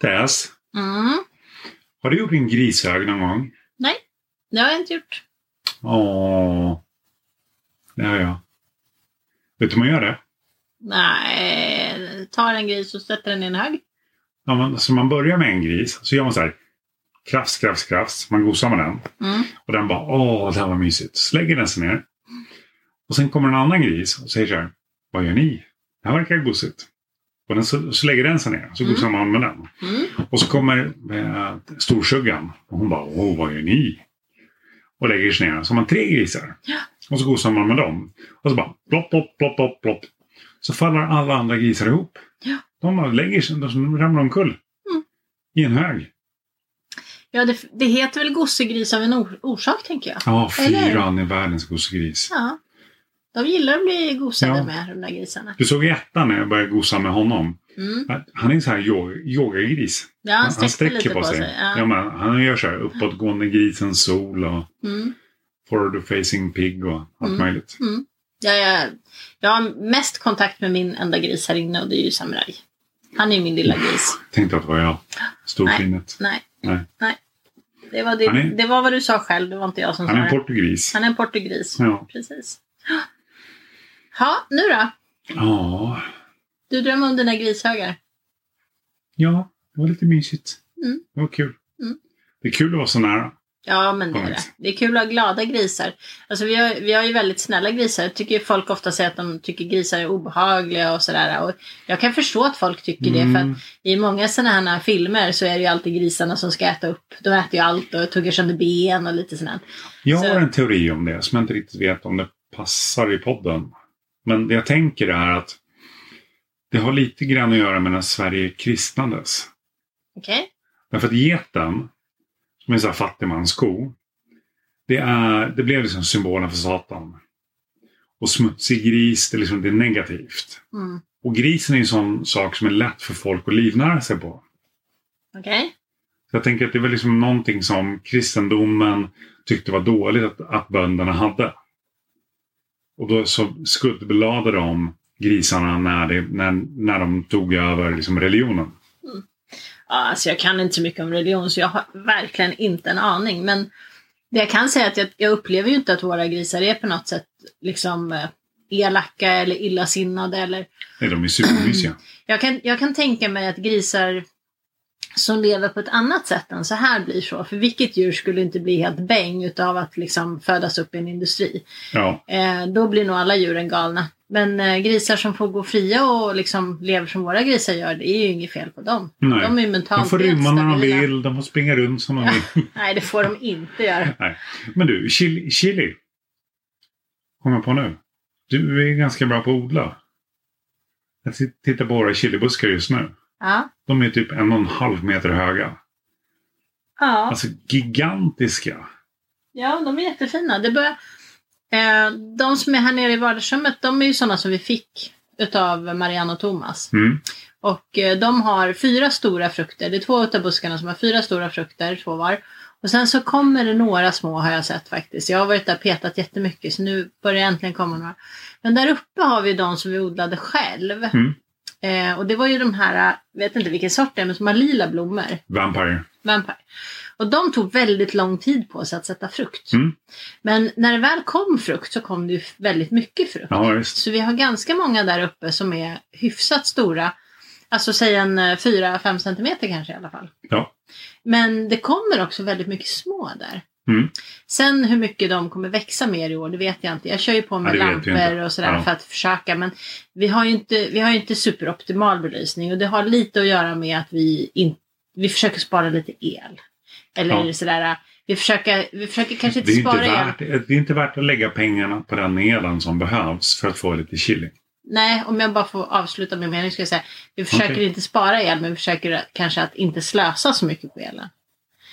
Tess, Mm. har du gjort en grishög någon gång? Det har jag inte gjort. Åh, det har jag. Vet du hur man gör det? Nej, tar en gris och sätter den i en hög. Ja, man, så man börjar med en gris, så gör man så här. Krafs, krafs, krafs. Man gosar med den. Mm. Och den bara, åh, det här var mysigt. Så lägger den sig ner. Och sen kommer en annan gris och säger så här, vad gör ni? Det här verkar gosigt. Och den, så, så lägger den sig ner, så Mm. gosar man med den. Mm. Och så kommer eh, storsuggan och hon bara, åh, vad gör ni? Och lägger sig ner. Så har man tre grisar. Ja. Och så gosar man med dem. Och så bara, plopp, plopp, plopp, plopp, plopp. Så faller alla andra grisar ihop. Ja. De bara lägger sig, de ramlar omkull. Mm. I en hög. Ja, det, det heter väl gossegris av en or- orsak, tänker jag. Ja, Eller? fyran är världens gosegris. Ja. De gillar att bli gosade Ja. med, de där grisarna. Du såg i ettan när jag började gosa med honom. Mm. att Han är en sån här yoga, yogagris. Ja, han sträcker, lite på sig. Ja, Ja. men han gör så här uppåtgående grisen sol och Mm. forward facing pig och allt Mm. möjligt. Ja, jag, jag har mest kontakt med min enda gris här inne och det är ju Samurai. Han är ju min lilla gris. Tänkte att det var jag. Storkinnet. Nej. Nej. Det var, Han det, är- det var vad du sa själv, det var inte jag som Han sa är en det. portugis. Han är en portugris. Ja. Precis. Ja, nu då? ja. Du drömmer om dina grishögar. Ja, det var lite mysigt. Mm. Det var kul. Mm. Det är kul att vara så nära. Ja, men det är det. Korrekt. Det är kul att ha glada grisar. Alltså, vi, har, vi har ju väldigt snälla grisar. Jag tycker ju folk ofta säger att de tycker grisar är obehagliga och sådär. Och jag kan förstå att folk tycker det. För att Mm. i många sådana här filmer så är det ju alltid grisarna som ska äta upp. De äter ju allt och tuggar sönder ben och lite sådär. Jag Så- har en teori om det som jag inte riktigt vet om det passar i podden. Men det jag tänker är att det har lite grann att göra med när Sverige kristnades. Okej? Därför att geten, som är en sån här fattigmansko, det, är, det blev liksom symbolen för Satan. Och smutsig gris, det är, liksom, det är negativt. Mm. Och grisen är ju en sån sak som är lätt för folk att livnära sig på. Okej? Så jag tänker att det är väl liksom någonting som kristendomen tyckte var dåligt att, att bönderna hade. Och då så skuldbelade de grisarna när, det, när, när de tog över liksom religionen. Ja, alltså jag kan inte så mycket om religion så jag har verkligen inte en aning. Men det jag kan säga är att jag, jag upplever ju inte att våra grisar är på något sätt liksom eh, elaka eller illasinnade. Eller... Nej, de är supermysiga. Jag, kan, jag kan tänka mig att grisar som lever på ett annat sätt än så här blir så. För vilket djur skulle inte bli helt bäng utav att liksom födas upp i en industri? Ja, Eh, då blir nog alla djuren galna. Men eh, grisar som får gå fria och liksom lever som våra grisar gör, det är ju inget fel på dem. nej. De är ju mentalt De får helt rymma när de stabila. vill, de får springa runt som de Ja. vill. Nej, det får de inte göra. Men du, chili, chili. Kommer jag på nu. Du är ganska bra på att odla. Jag t- tittar på våra chilibuskar just nu. Ja. De är typ en och en halv meter höga. Ja. Alltså gigantiska. ja, de är jättefina. Det börjar... eh, de som är här nere i vardagsrummet, de är ju sådana som vi fick utav Marianne och Thomas. Mm. Och eh, de har fyra stora frukter. Det är två utav buskarna som har fyra stora frukter, två var. Och sen så kommer det några små har jag sett faktiskt. Jag har varit där och petat jättemycket så nu börjar det äntligen komma några. Men där uppe har vi de som vi odlade själv. Mm. Eh, och det var ju de här, eh, vet inte vilken sort det är, men som har lila blommor. Vampire. Vampire. Och de tog väldigt lång tid på sig att sätta frukt. Mm. Men när det väl kom frukt så kom det ju väldigt mycket frukt. Ja, visst. Så vi har ganska många där uppe som är hyfsat stora. Alltså säg en eh, 4-5 centimeter kanske i alla fall. Ja. Men det kommer också väldigt mycket små där. Mm. Sen hur mycket de kommer växa mer i år, det vet jag inte. Jag kör ju på med Ja, det vet vi lampor inte. och sådär Ja. för att försöka. Men vi har ju inte, vi har ju inte superoptimal belysning och det har lite att göra med att vi, in, vi försöker spara lite el. Eller Ja. sådär, vi försöker, vi försöker kanske Det inte är, inte spara el. värt, det är inte värt att lägga pengarna på den elen som behövs för att få lite chili. Nej, om jag bara får avsluta min mening ska jag säga. Vi försöker Okej. inte spara el, men vi försöker att- kanske att inte slösa så mycket på elen.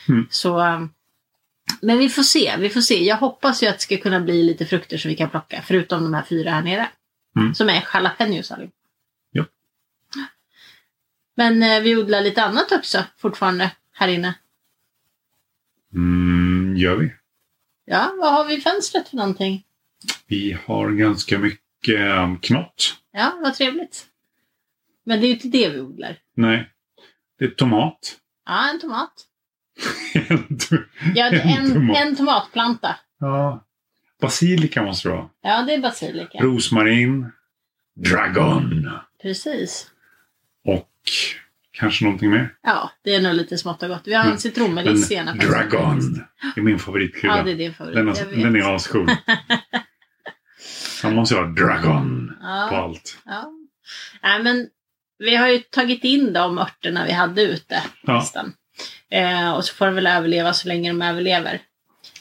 Mm. Så, um, men vi får se, vi får se. Jag hoppas ju att det ska kunna bli lite frukter som vi kan plocka, förutom de här fyra här nere. Mm. Som är jalapenos allihop. Ja. Men eh, vi odlar lite annat också fortfarande här inne. Mm, gör vi. Ja, vad har vi i fönstret för någonting? Vi har ganska mycket eh, knott. Ja, vad trevligt. Men det är ju inte det vi odlar. Nej. Det är tomat. Ja, en tomat. En to- Jag hade En en, tomat. en tomatplanta. ja. Basilika måste det vara. Ja, det är basilika. Rosmarin. Dragon. Precis. Och kanske någonting mer. Ja, det är nog lite smått och gott. Vi har en Mm. Men citronmeliss i ena faktiskt. Dragon är min Ja, favoritkrydda. det är din favorit. den, jag har, vet. den är ascool. Man måste ha Dragon på ja, allt. ja. Nej, men vi har ju tagit in de örterna vi hade ute. Ja. Nästan. Eh, och så får de väl överleva så länge de överlever.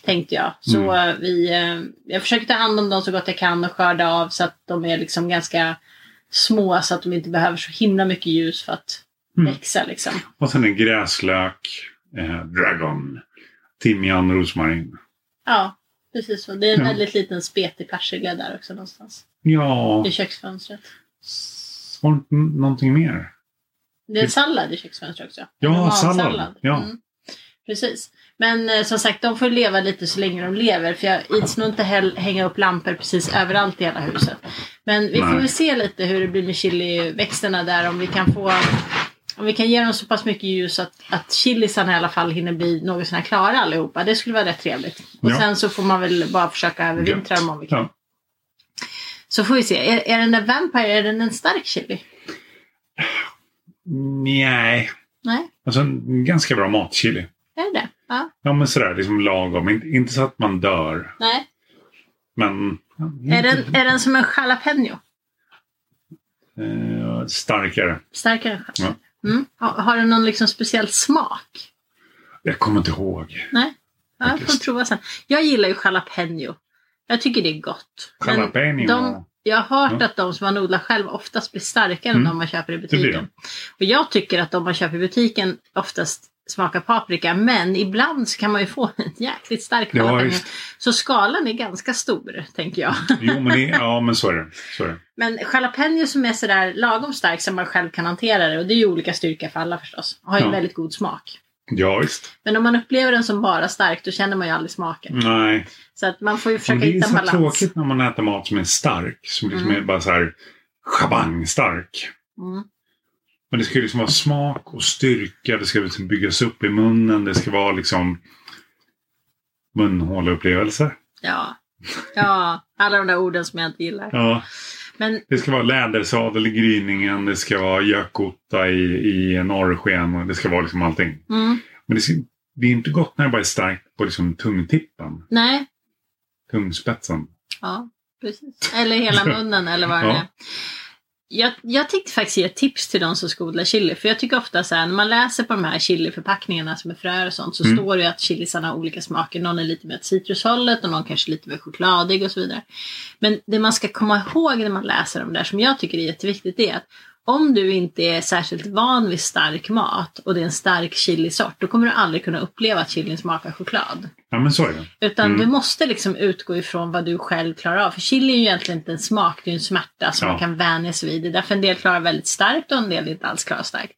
Tänkte jag. Så Mm. eh, vi, eh, jag försöker ta hand om dem så gott jag kan och skörda av så att de är liksom ganska små så att de inte behöver så himla mycket ljus för att Mm. växa. Liksom. Och sen en gräslök. Eh, dragon. Timjan, rosmarin. Ja, precis så. Det är en Ja. väldigt liten spetig persilja där också någonstans. Ja, I köksfönstret. var det inte någonting mer? Det är en sallad i köksfönstret också. En Ja, romansallad. sallad. Ja. Mm. Precis. Men eh, som sagt, de får leva lite så länge de lever. För jag ids nog inte häll- hänga upp lampor precis överallt i hela huset. Men vi får Nej. väl se lite hur det blir med chiliväxterna där. Om vi kan få... Om vi kan ge dem så pass mycket ljus att, att chilisarna i alla fall hinner bli något sånär klara allihopa. Det skulle vara rätt trevligt. Och Ja. sen så får man väl bara försöka övervintra dem om vi kan. Ja. Så får vi se. Är, är den en Vampire? Är den en stark chili? Nej. Nej, Alltså en ganska bra matchili. är det det? Ja. Ja men sådär liksom lagom. Inte, inte så att man dör. Nej. Men... ja, Är inte- den, är den som en jalapeno? Eh, starkare. Starkare än jalapeno? Mm. Har, har den någon liksom speciell smak? Jag kommer inte ihåg. Ja, jag får Faktiskt. prova sen. Jag gillar ju jalapeno. Jag tycker det är gott. Men Jalapeno. de- jag har hört Ja. att de som man odlar själv oftast blir starkare än Mm. de man köper i blir butiken. Och jag tycker att de man köper i butiken oftast smakar paprika. Men ibland så kan man ju få en jäkligt stark Ja, jalapeno. visst. så skalan är ganska stor, tänker jag. Jo men det, ja men så är det. Så är det. Men jalapeno som är sådär lagom stark som man själv kan hantera det. Och det är ju olika styrka för alla förstås. Har ju Ja. väldigt god smak. Ja visst. Men om man upplever den som bara stark då känner man ju aldrig smaken. Nej. Så att man får ju Mm. Men försöka det är hitta en så balans. tråkigt när man äter mat som är stark. Som liksom Mm. är bara så här chabangstark. Mm. Men det ska ju liksom vara smak och styrka. Det ska liksom byggas upp i munnen. Det ska vara liksom munhåleupplevelse. Ja. ja, alla de där orden som jag inte gillar. Ja, Men det ska vara lädersadel i gryningen. Det ska vara gökotta i, i norrsken. och Det ska vara liksom allting. mm, Men det, ska, det är inte gott när det bara är starkt på liksom tungtippen. nej, Tungspetsen. Ja, precis. Eller hela munnen eller vad det Ja. är. Jag, jag tänkte faktiskt ge ett tips till de som ska odla chili. För jag tycker ofta så här, när man läser på de här chiliförpackningarna som är fröer och sånt så Mm. står det ju att chilisarna har olika smaker. Någon är lite mer åt citrushållet och någon kanske lite mer chokladig och så vidare. Men det man ska komma ihåg när man läser de där som jag tycker är jätteviktigt är att om du inte är särskilt van vid stark mat och det är en stark chilisort då kommer du aldrig kunna uppleva att chilin smakar choklad. Ja men så är det. Utan Mm. du måste liksom utgå ifrån vad du själv klarar av. För chili är ju egentligen inte en smak, det är ju en smärta som Ja. man kan vänja sig vid. Det är därför en del klarar väldigt starkt och en del inte alls klarar starkt.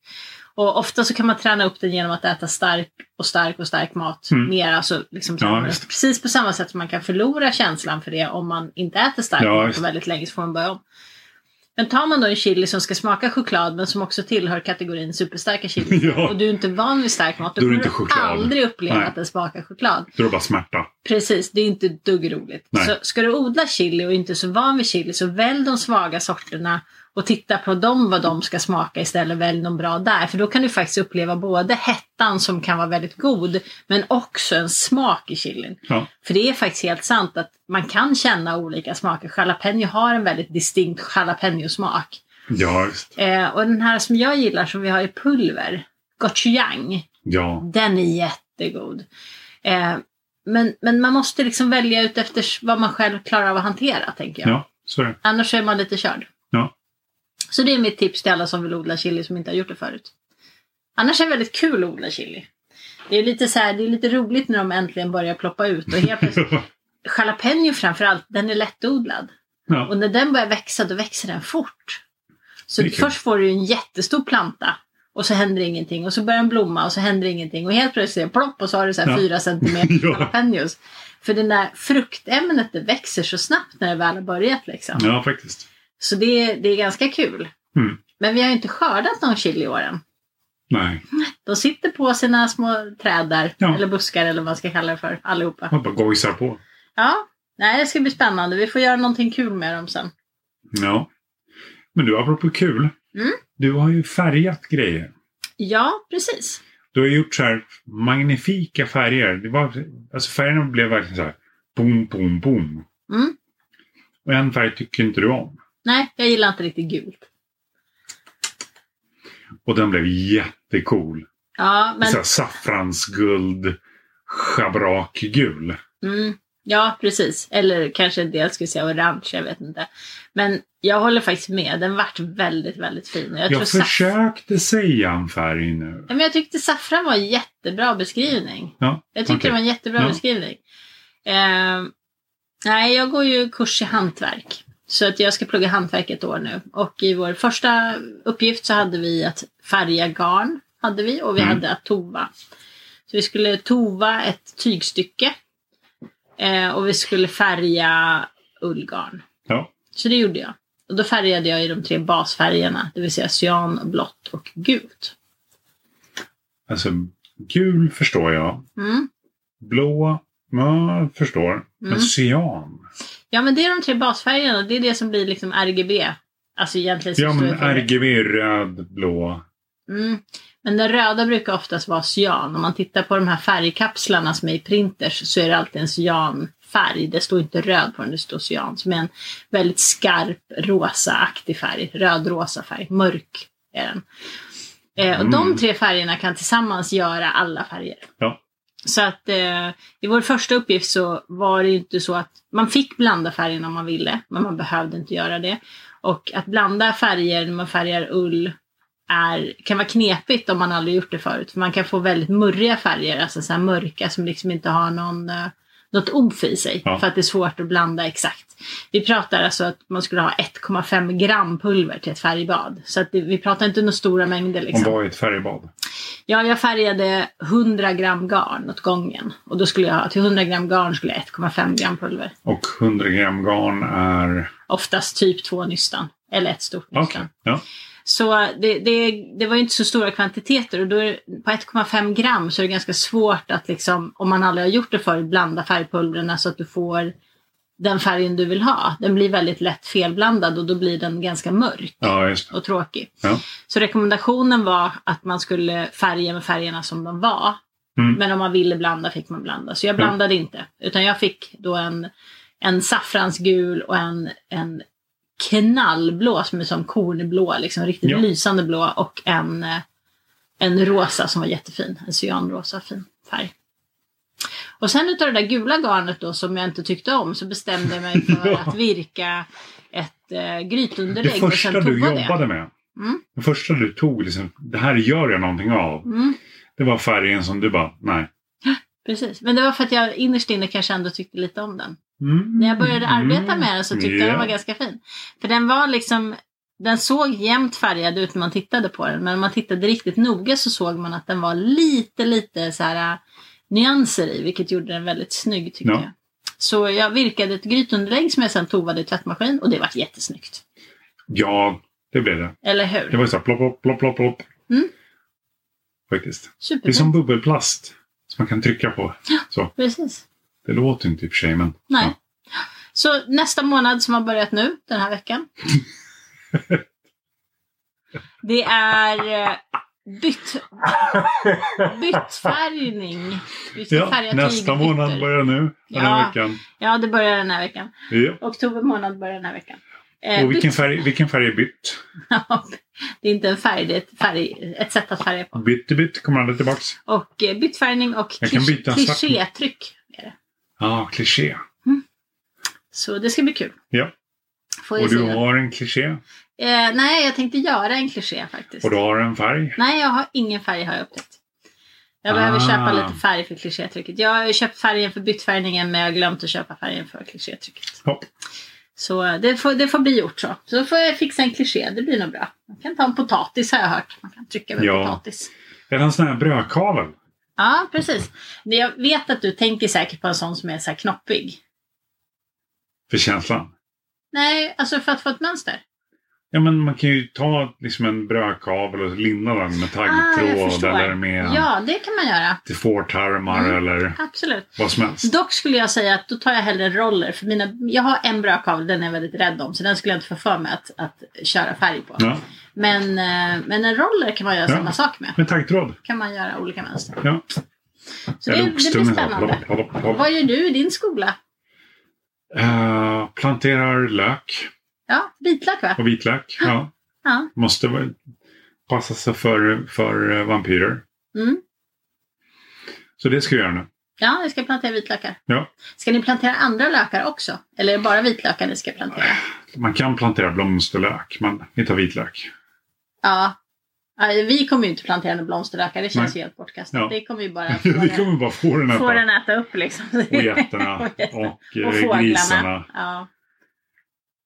Och ofta så kan man träna upp den genom att äta stark och stark och stark mat Mm. mer. Alltså liksom Ja, träna den. visst. precis på samma sätt som man kan förlora känslan för det om man inte äter stark Ja, mat visst. på väldigt länge så får man börja om. Men tar man då en chili som ska smaka choklad men som också tillhör kategorin superstarka chili Ja. och du är inte van vid stark mat då, Då är det kommer inte du choklad. aldrig uppleva Nej. att den smakar choklad. Då är det bara smärta. Precis, det är inte ett dugg roligt. Nej. Så ska du odla chili och inte är så van vid chili så välj de svaga sorterna och titta på dem vad de ska smaka istället. Välj de bra där. För då kan du faktiskt uppleva både hettan som kan vara väldigt god men också en smak i chilin. Ja. För det är faktiskt helt sant att man kan känna olika smaker. Jalapeno har en väldigt distinkt jalapeno-smak. Ja, visst. Eh, och den här som jag gillar som vi har i pulver, gochujang. Ja. Den är jättegod. Eh, men, men man måste liksom välja ut efter s- vad man själv klarar av att hantera, tänker jag. ja, så är det. Annars är man lite körd. Ja. Så det är mitt tips till alla som vill odla chili som inte har gjort det förut. Annars är det väldigt kul att odla chili. Det är lite, så här, det är lite roligt när de äntligen börjar ploppa ut. Och helt plötsligt, jalapeno framförallt, den är lättodlad. ja. Och när den börjar växa, då växer den fort. Så Det är kul. först får du ju en jättestor planta och så händer ingenting och så börjar den blomma och så händer ingenting och helt plötsligt plopp och så har du så här Ja. fyra centimeter Ja. jalapenos. För det där fruktämnet det växer så snabbt när det väl har börjat liksom. ja, faktiskt. Så det, är- det är ganska kul. Mm. Men vi har ju inte skördat någon chili i år än. Nej, De sitter på sina små träd där, Ja. eller buskar eller vad man ska kalla det för, allihopa. man bara gojsar på. Ja, nej, det ska bli spännande. Vi får göra någonting kul med dem sen. Ja. Men du, apropå kul. Mm. Du har ju färgat grejer. Ja, precis. Du har gjort så här magnifika färger. Det var, alltså färgerna blev verkligen så här boom, boom, boom. Mm. Och en färg tycker inte du om. Nej, jag gillar inte riktigt gult. Och den blev jättecool. Ja, men, Så här saffransguld, schabrakgul. mm, ja, precis. Eller kanske en del skulle säga orange, jag vet inte. Men jag håller faktiskt med. Den vart väldigt, väldigt fin. Jag, Jag, tror saff- försökte säga en färg nu. Ja, men jag tyckte saffran var en jättebra beskrivning. Ja, Jag tyckte okej. det var en jättebra Ja. beskrivning. Ehm, nej, jag går ju kurs i hantverk. Så att jag ska plugga hantverk ett år nu. Och i vår första uppgift så hade vi att färga garn. Hade vi, och vi Mm. hade att tova. Så vi skulle tova ett tygstycke. Eh, och vi skulle färga ullgarn. Ja. Så det gjorde jag. Och då färgade jag i de tre basfärgerna. Det vill säga cyan, blått och gult. Alltså, gul förstår jag. Mm. Blå, ja, förstår. Men Mm. cyan. Ja, men det är de tre basfärgerna. Det är det som blir liksom RGB. Alltså egentligen så Ja, står men det för- RGB är röd, blå. mm. men den röda brukar oftast vara cyan. Om man tittar på de här färgkapslarna som är i printers så är det alltid en cyanfärg. Det står inte röd på den, det står cyan. Som är en väldigt skarp rosaaktig färg. Röd-rosa färg. Mörk är den. Eh, och Mm. de tre färgerna kan tillsammans göra alla färger. Ja. Så att eh, i vår första uppgift så var det ju inte så att man fick blanda färgerna om man ville, men man behövde inte göra det. Och att blanda färger när man färgar ull är, kan vara knepigt om man aldrig gjort det förut. För man kan få väldigt murriga färger, alltså så här mörka som liksom inte har någon, eh, något omf i sig. Ja. För att det är svårt att blanda exakt. Vi pratar alltså att man skulle ha 1,5 gram pulver till ett färgbad. Så att det, vi pratar inte några stora mängder. Liksom. Hon var i ett färgbad. Ja, jag färgade 100 gram garn åt gången. Och då skulle jag ha, till 100 gram garn skulle jag ha 1,5 gram pulver. Och 100 gram garn är... Oftast typ två nystan. Eller ett stort Okej. nystan. Ja. Så det, det, det var ju inte så stora kvantiteter. Och då är, det- på 1,5 gram så är det ganska svårt att liksom, om man aldrig har gjort det förut, blanda färgpulverna så att du får den färgen du vill ha. Den blir väldigt lätt felblandad och då blir den ganska mörk ja, just det. och tråkig. Ja. Så rekommendationen var att man skulle färga med färgerna som de var. Mm. Men om man ville blanda fick man blanda. Så jag Ja. blandade inte. Utan jag fick då en, en saffransgul och en, en knallblå som är som kornblå, liksom riktigt Ja. lysande blå. Och en, eh, en rosa som var jättefin. En cyanrosa fin färg. Och sen utav det där gula garnet då som jag inte tyckte om så bestämde jag mig för Ja. att virka ett eh, grytunderlägg. Det och första sen du tova det. jobbade med. Mm. Det första du tog, liksom, det här gör jag någonting av. Mm, Det var färgen som du bara, nej. precis. Men det var för att jag innerst inne kanske ändå tyckte lite om den. Mm. När jag började arbeta Mm. med den så tyckte jag Ja. den var ganska fin. För den var liksom, den såg jämnt färgad ut när man tittade på den. Men om man tittade riktigt noga så såg man att den var lite, lite så här äh, nyanser i. Vilket gjorde den väldigt snygg tyckte Ja. jag. Så jag virkade ett grytunderlägg som jag sen tovade i tvättmaskin och det var jättesnyggt. Ja, det blev det. Eller Det hur? var ju så här plopp, plopp, plopp, plopp, plopp. Mm. Faktiskt. Det är Superfint. som bubbelplast. Som man kan trycka på. Precis. Det låter inte i och för sig, men... Nej. Ja. Så nästa månad som har börjat nu, den här veckan. det är eh, bytt, byttfärgning. Vi ska Ja, färga nästa tygbyttor. månad börjar nu. Den här Ja. veckan. Ja, det börjar den här veckan. Ja. Oktober månad börjar den här veckan. Eh, Och vilken bytt- färg, vilken färg är bytt? det är inte en färg, det är ett, färg, ett sätt att färga på. Bytt är bytt, kommer aldrig tillbaks. Och eh, byttfärgning och Jag kan klisch- byta en svart- klichétryck. är det. Ja, kliché. Så det ska bli kul. Ja. Får Och vi du se. har en kliché. Eh, nej, jag tänkte göra en kliché faktiskt. Och du har en färg. Nej, jag har ingen färg har jag upptäckt. Jag Ah. behöver köpa lite färg för klichétrycket. Jag har ju köpt färgen för byttfärgningen men jag har glömt att köpa färgen för klichétrycket. Hopp. Så eh, det får, det får bli gjort så. Så får jag fixa en kliché, det blir nog bra. Man kan ta en potatis har jag hört. Man kan trycka med Ja. potatis. Är det en sån här brödkavel? Ja, precis. Men Jag vet att du tänker säkert på en sån som är så här knoppig. För känslan. Nej, alltså för att få ett mönster. Ja, men man kan ju ta liksom en brödkavel och linda den med taggtråd eller med Ah, Ja, det kan man göra. till fårtarmar Mm. eller Absolut. vad som helst. Dock skulle jag säga att då tar jag hellre roller. För mina, jag har en brödkavel, den är jag väldigt rädd om. Så den skulle jag inte få för mig att, att köra färg på. Ja, Men, eh, men en roller kan man göra Ja. samma sak med. med taggtråd. kan man göra olika mönster. Ja. Så det, det blir oxtunga. spännande. Hopp, hopp, hopp, hopp. Vad gör du i din skola? Eh, planterar lök Ja, vitlök va? och vitlök. Ja. Ja. Måste väl passa sig för, för eh, vampyrer. Mm. Så det ska vi göra nu. Ja, jag ska plantera vitlökar. Ja. Ska ni plantera andra lökar också? Eller är det bara vitlökar ni ska plantera? Man kan plantera blomsterlök, men inte vitlök. Ja. Ja, Vi kommer ju inte plantera några blomsterlökar, det känns Nej. ju helt bortkastat. Ja. Det kommer ju bara få Vi den, kommer bara få den få här den äta upp liksom. Och getterna Och jätterna. och, Och eh, fåglarna. grisarna. Ja.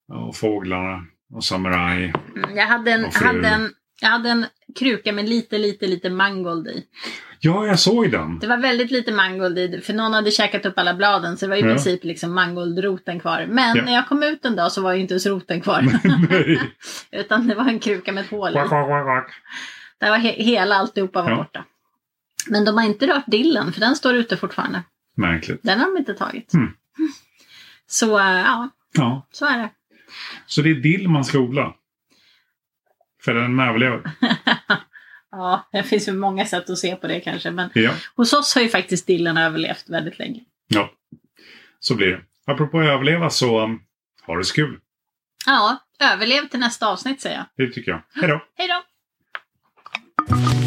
Och fåglarna. Och samuraj. Mm, Jag hade, en, Och jag, frun. hade en, jag hade en kruka med lite, lite, lite mangold i. Ja, jag såg den. Det var väldigt lite mangold i det, för någon hade käkat upp alla bladen så det var i Ja. princip liksom mangoldroten kvar. Men Ja. när jag kom ut en dag så var ju inte ens roten kvar. Nej. Utan det var en kruka med ett hål i. Quack, quack, quack, quack. Där var he- hela alltihopa var Ja. borta. Men de har inte rört dillen för den står ute fortfarande. Märkligt. Den har de inte tagit. Mm. Så eh, ja, Ja. så är det. Så det är dill man ska odla. För den överlever. Ja, det finns ju många sätt att se på det kanske. Men Ja, hos oss har ju faktiskt dillen överlevt väldigt länge. så blir det. Apropå att överleva så um, har det så kul. Ja, överlev till nästa avsnitt säger jag. Det tycker jag. Hej då! Hej då!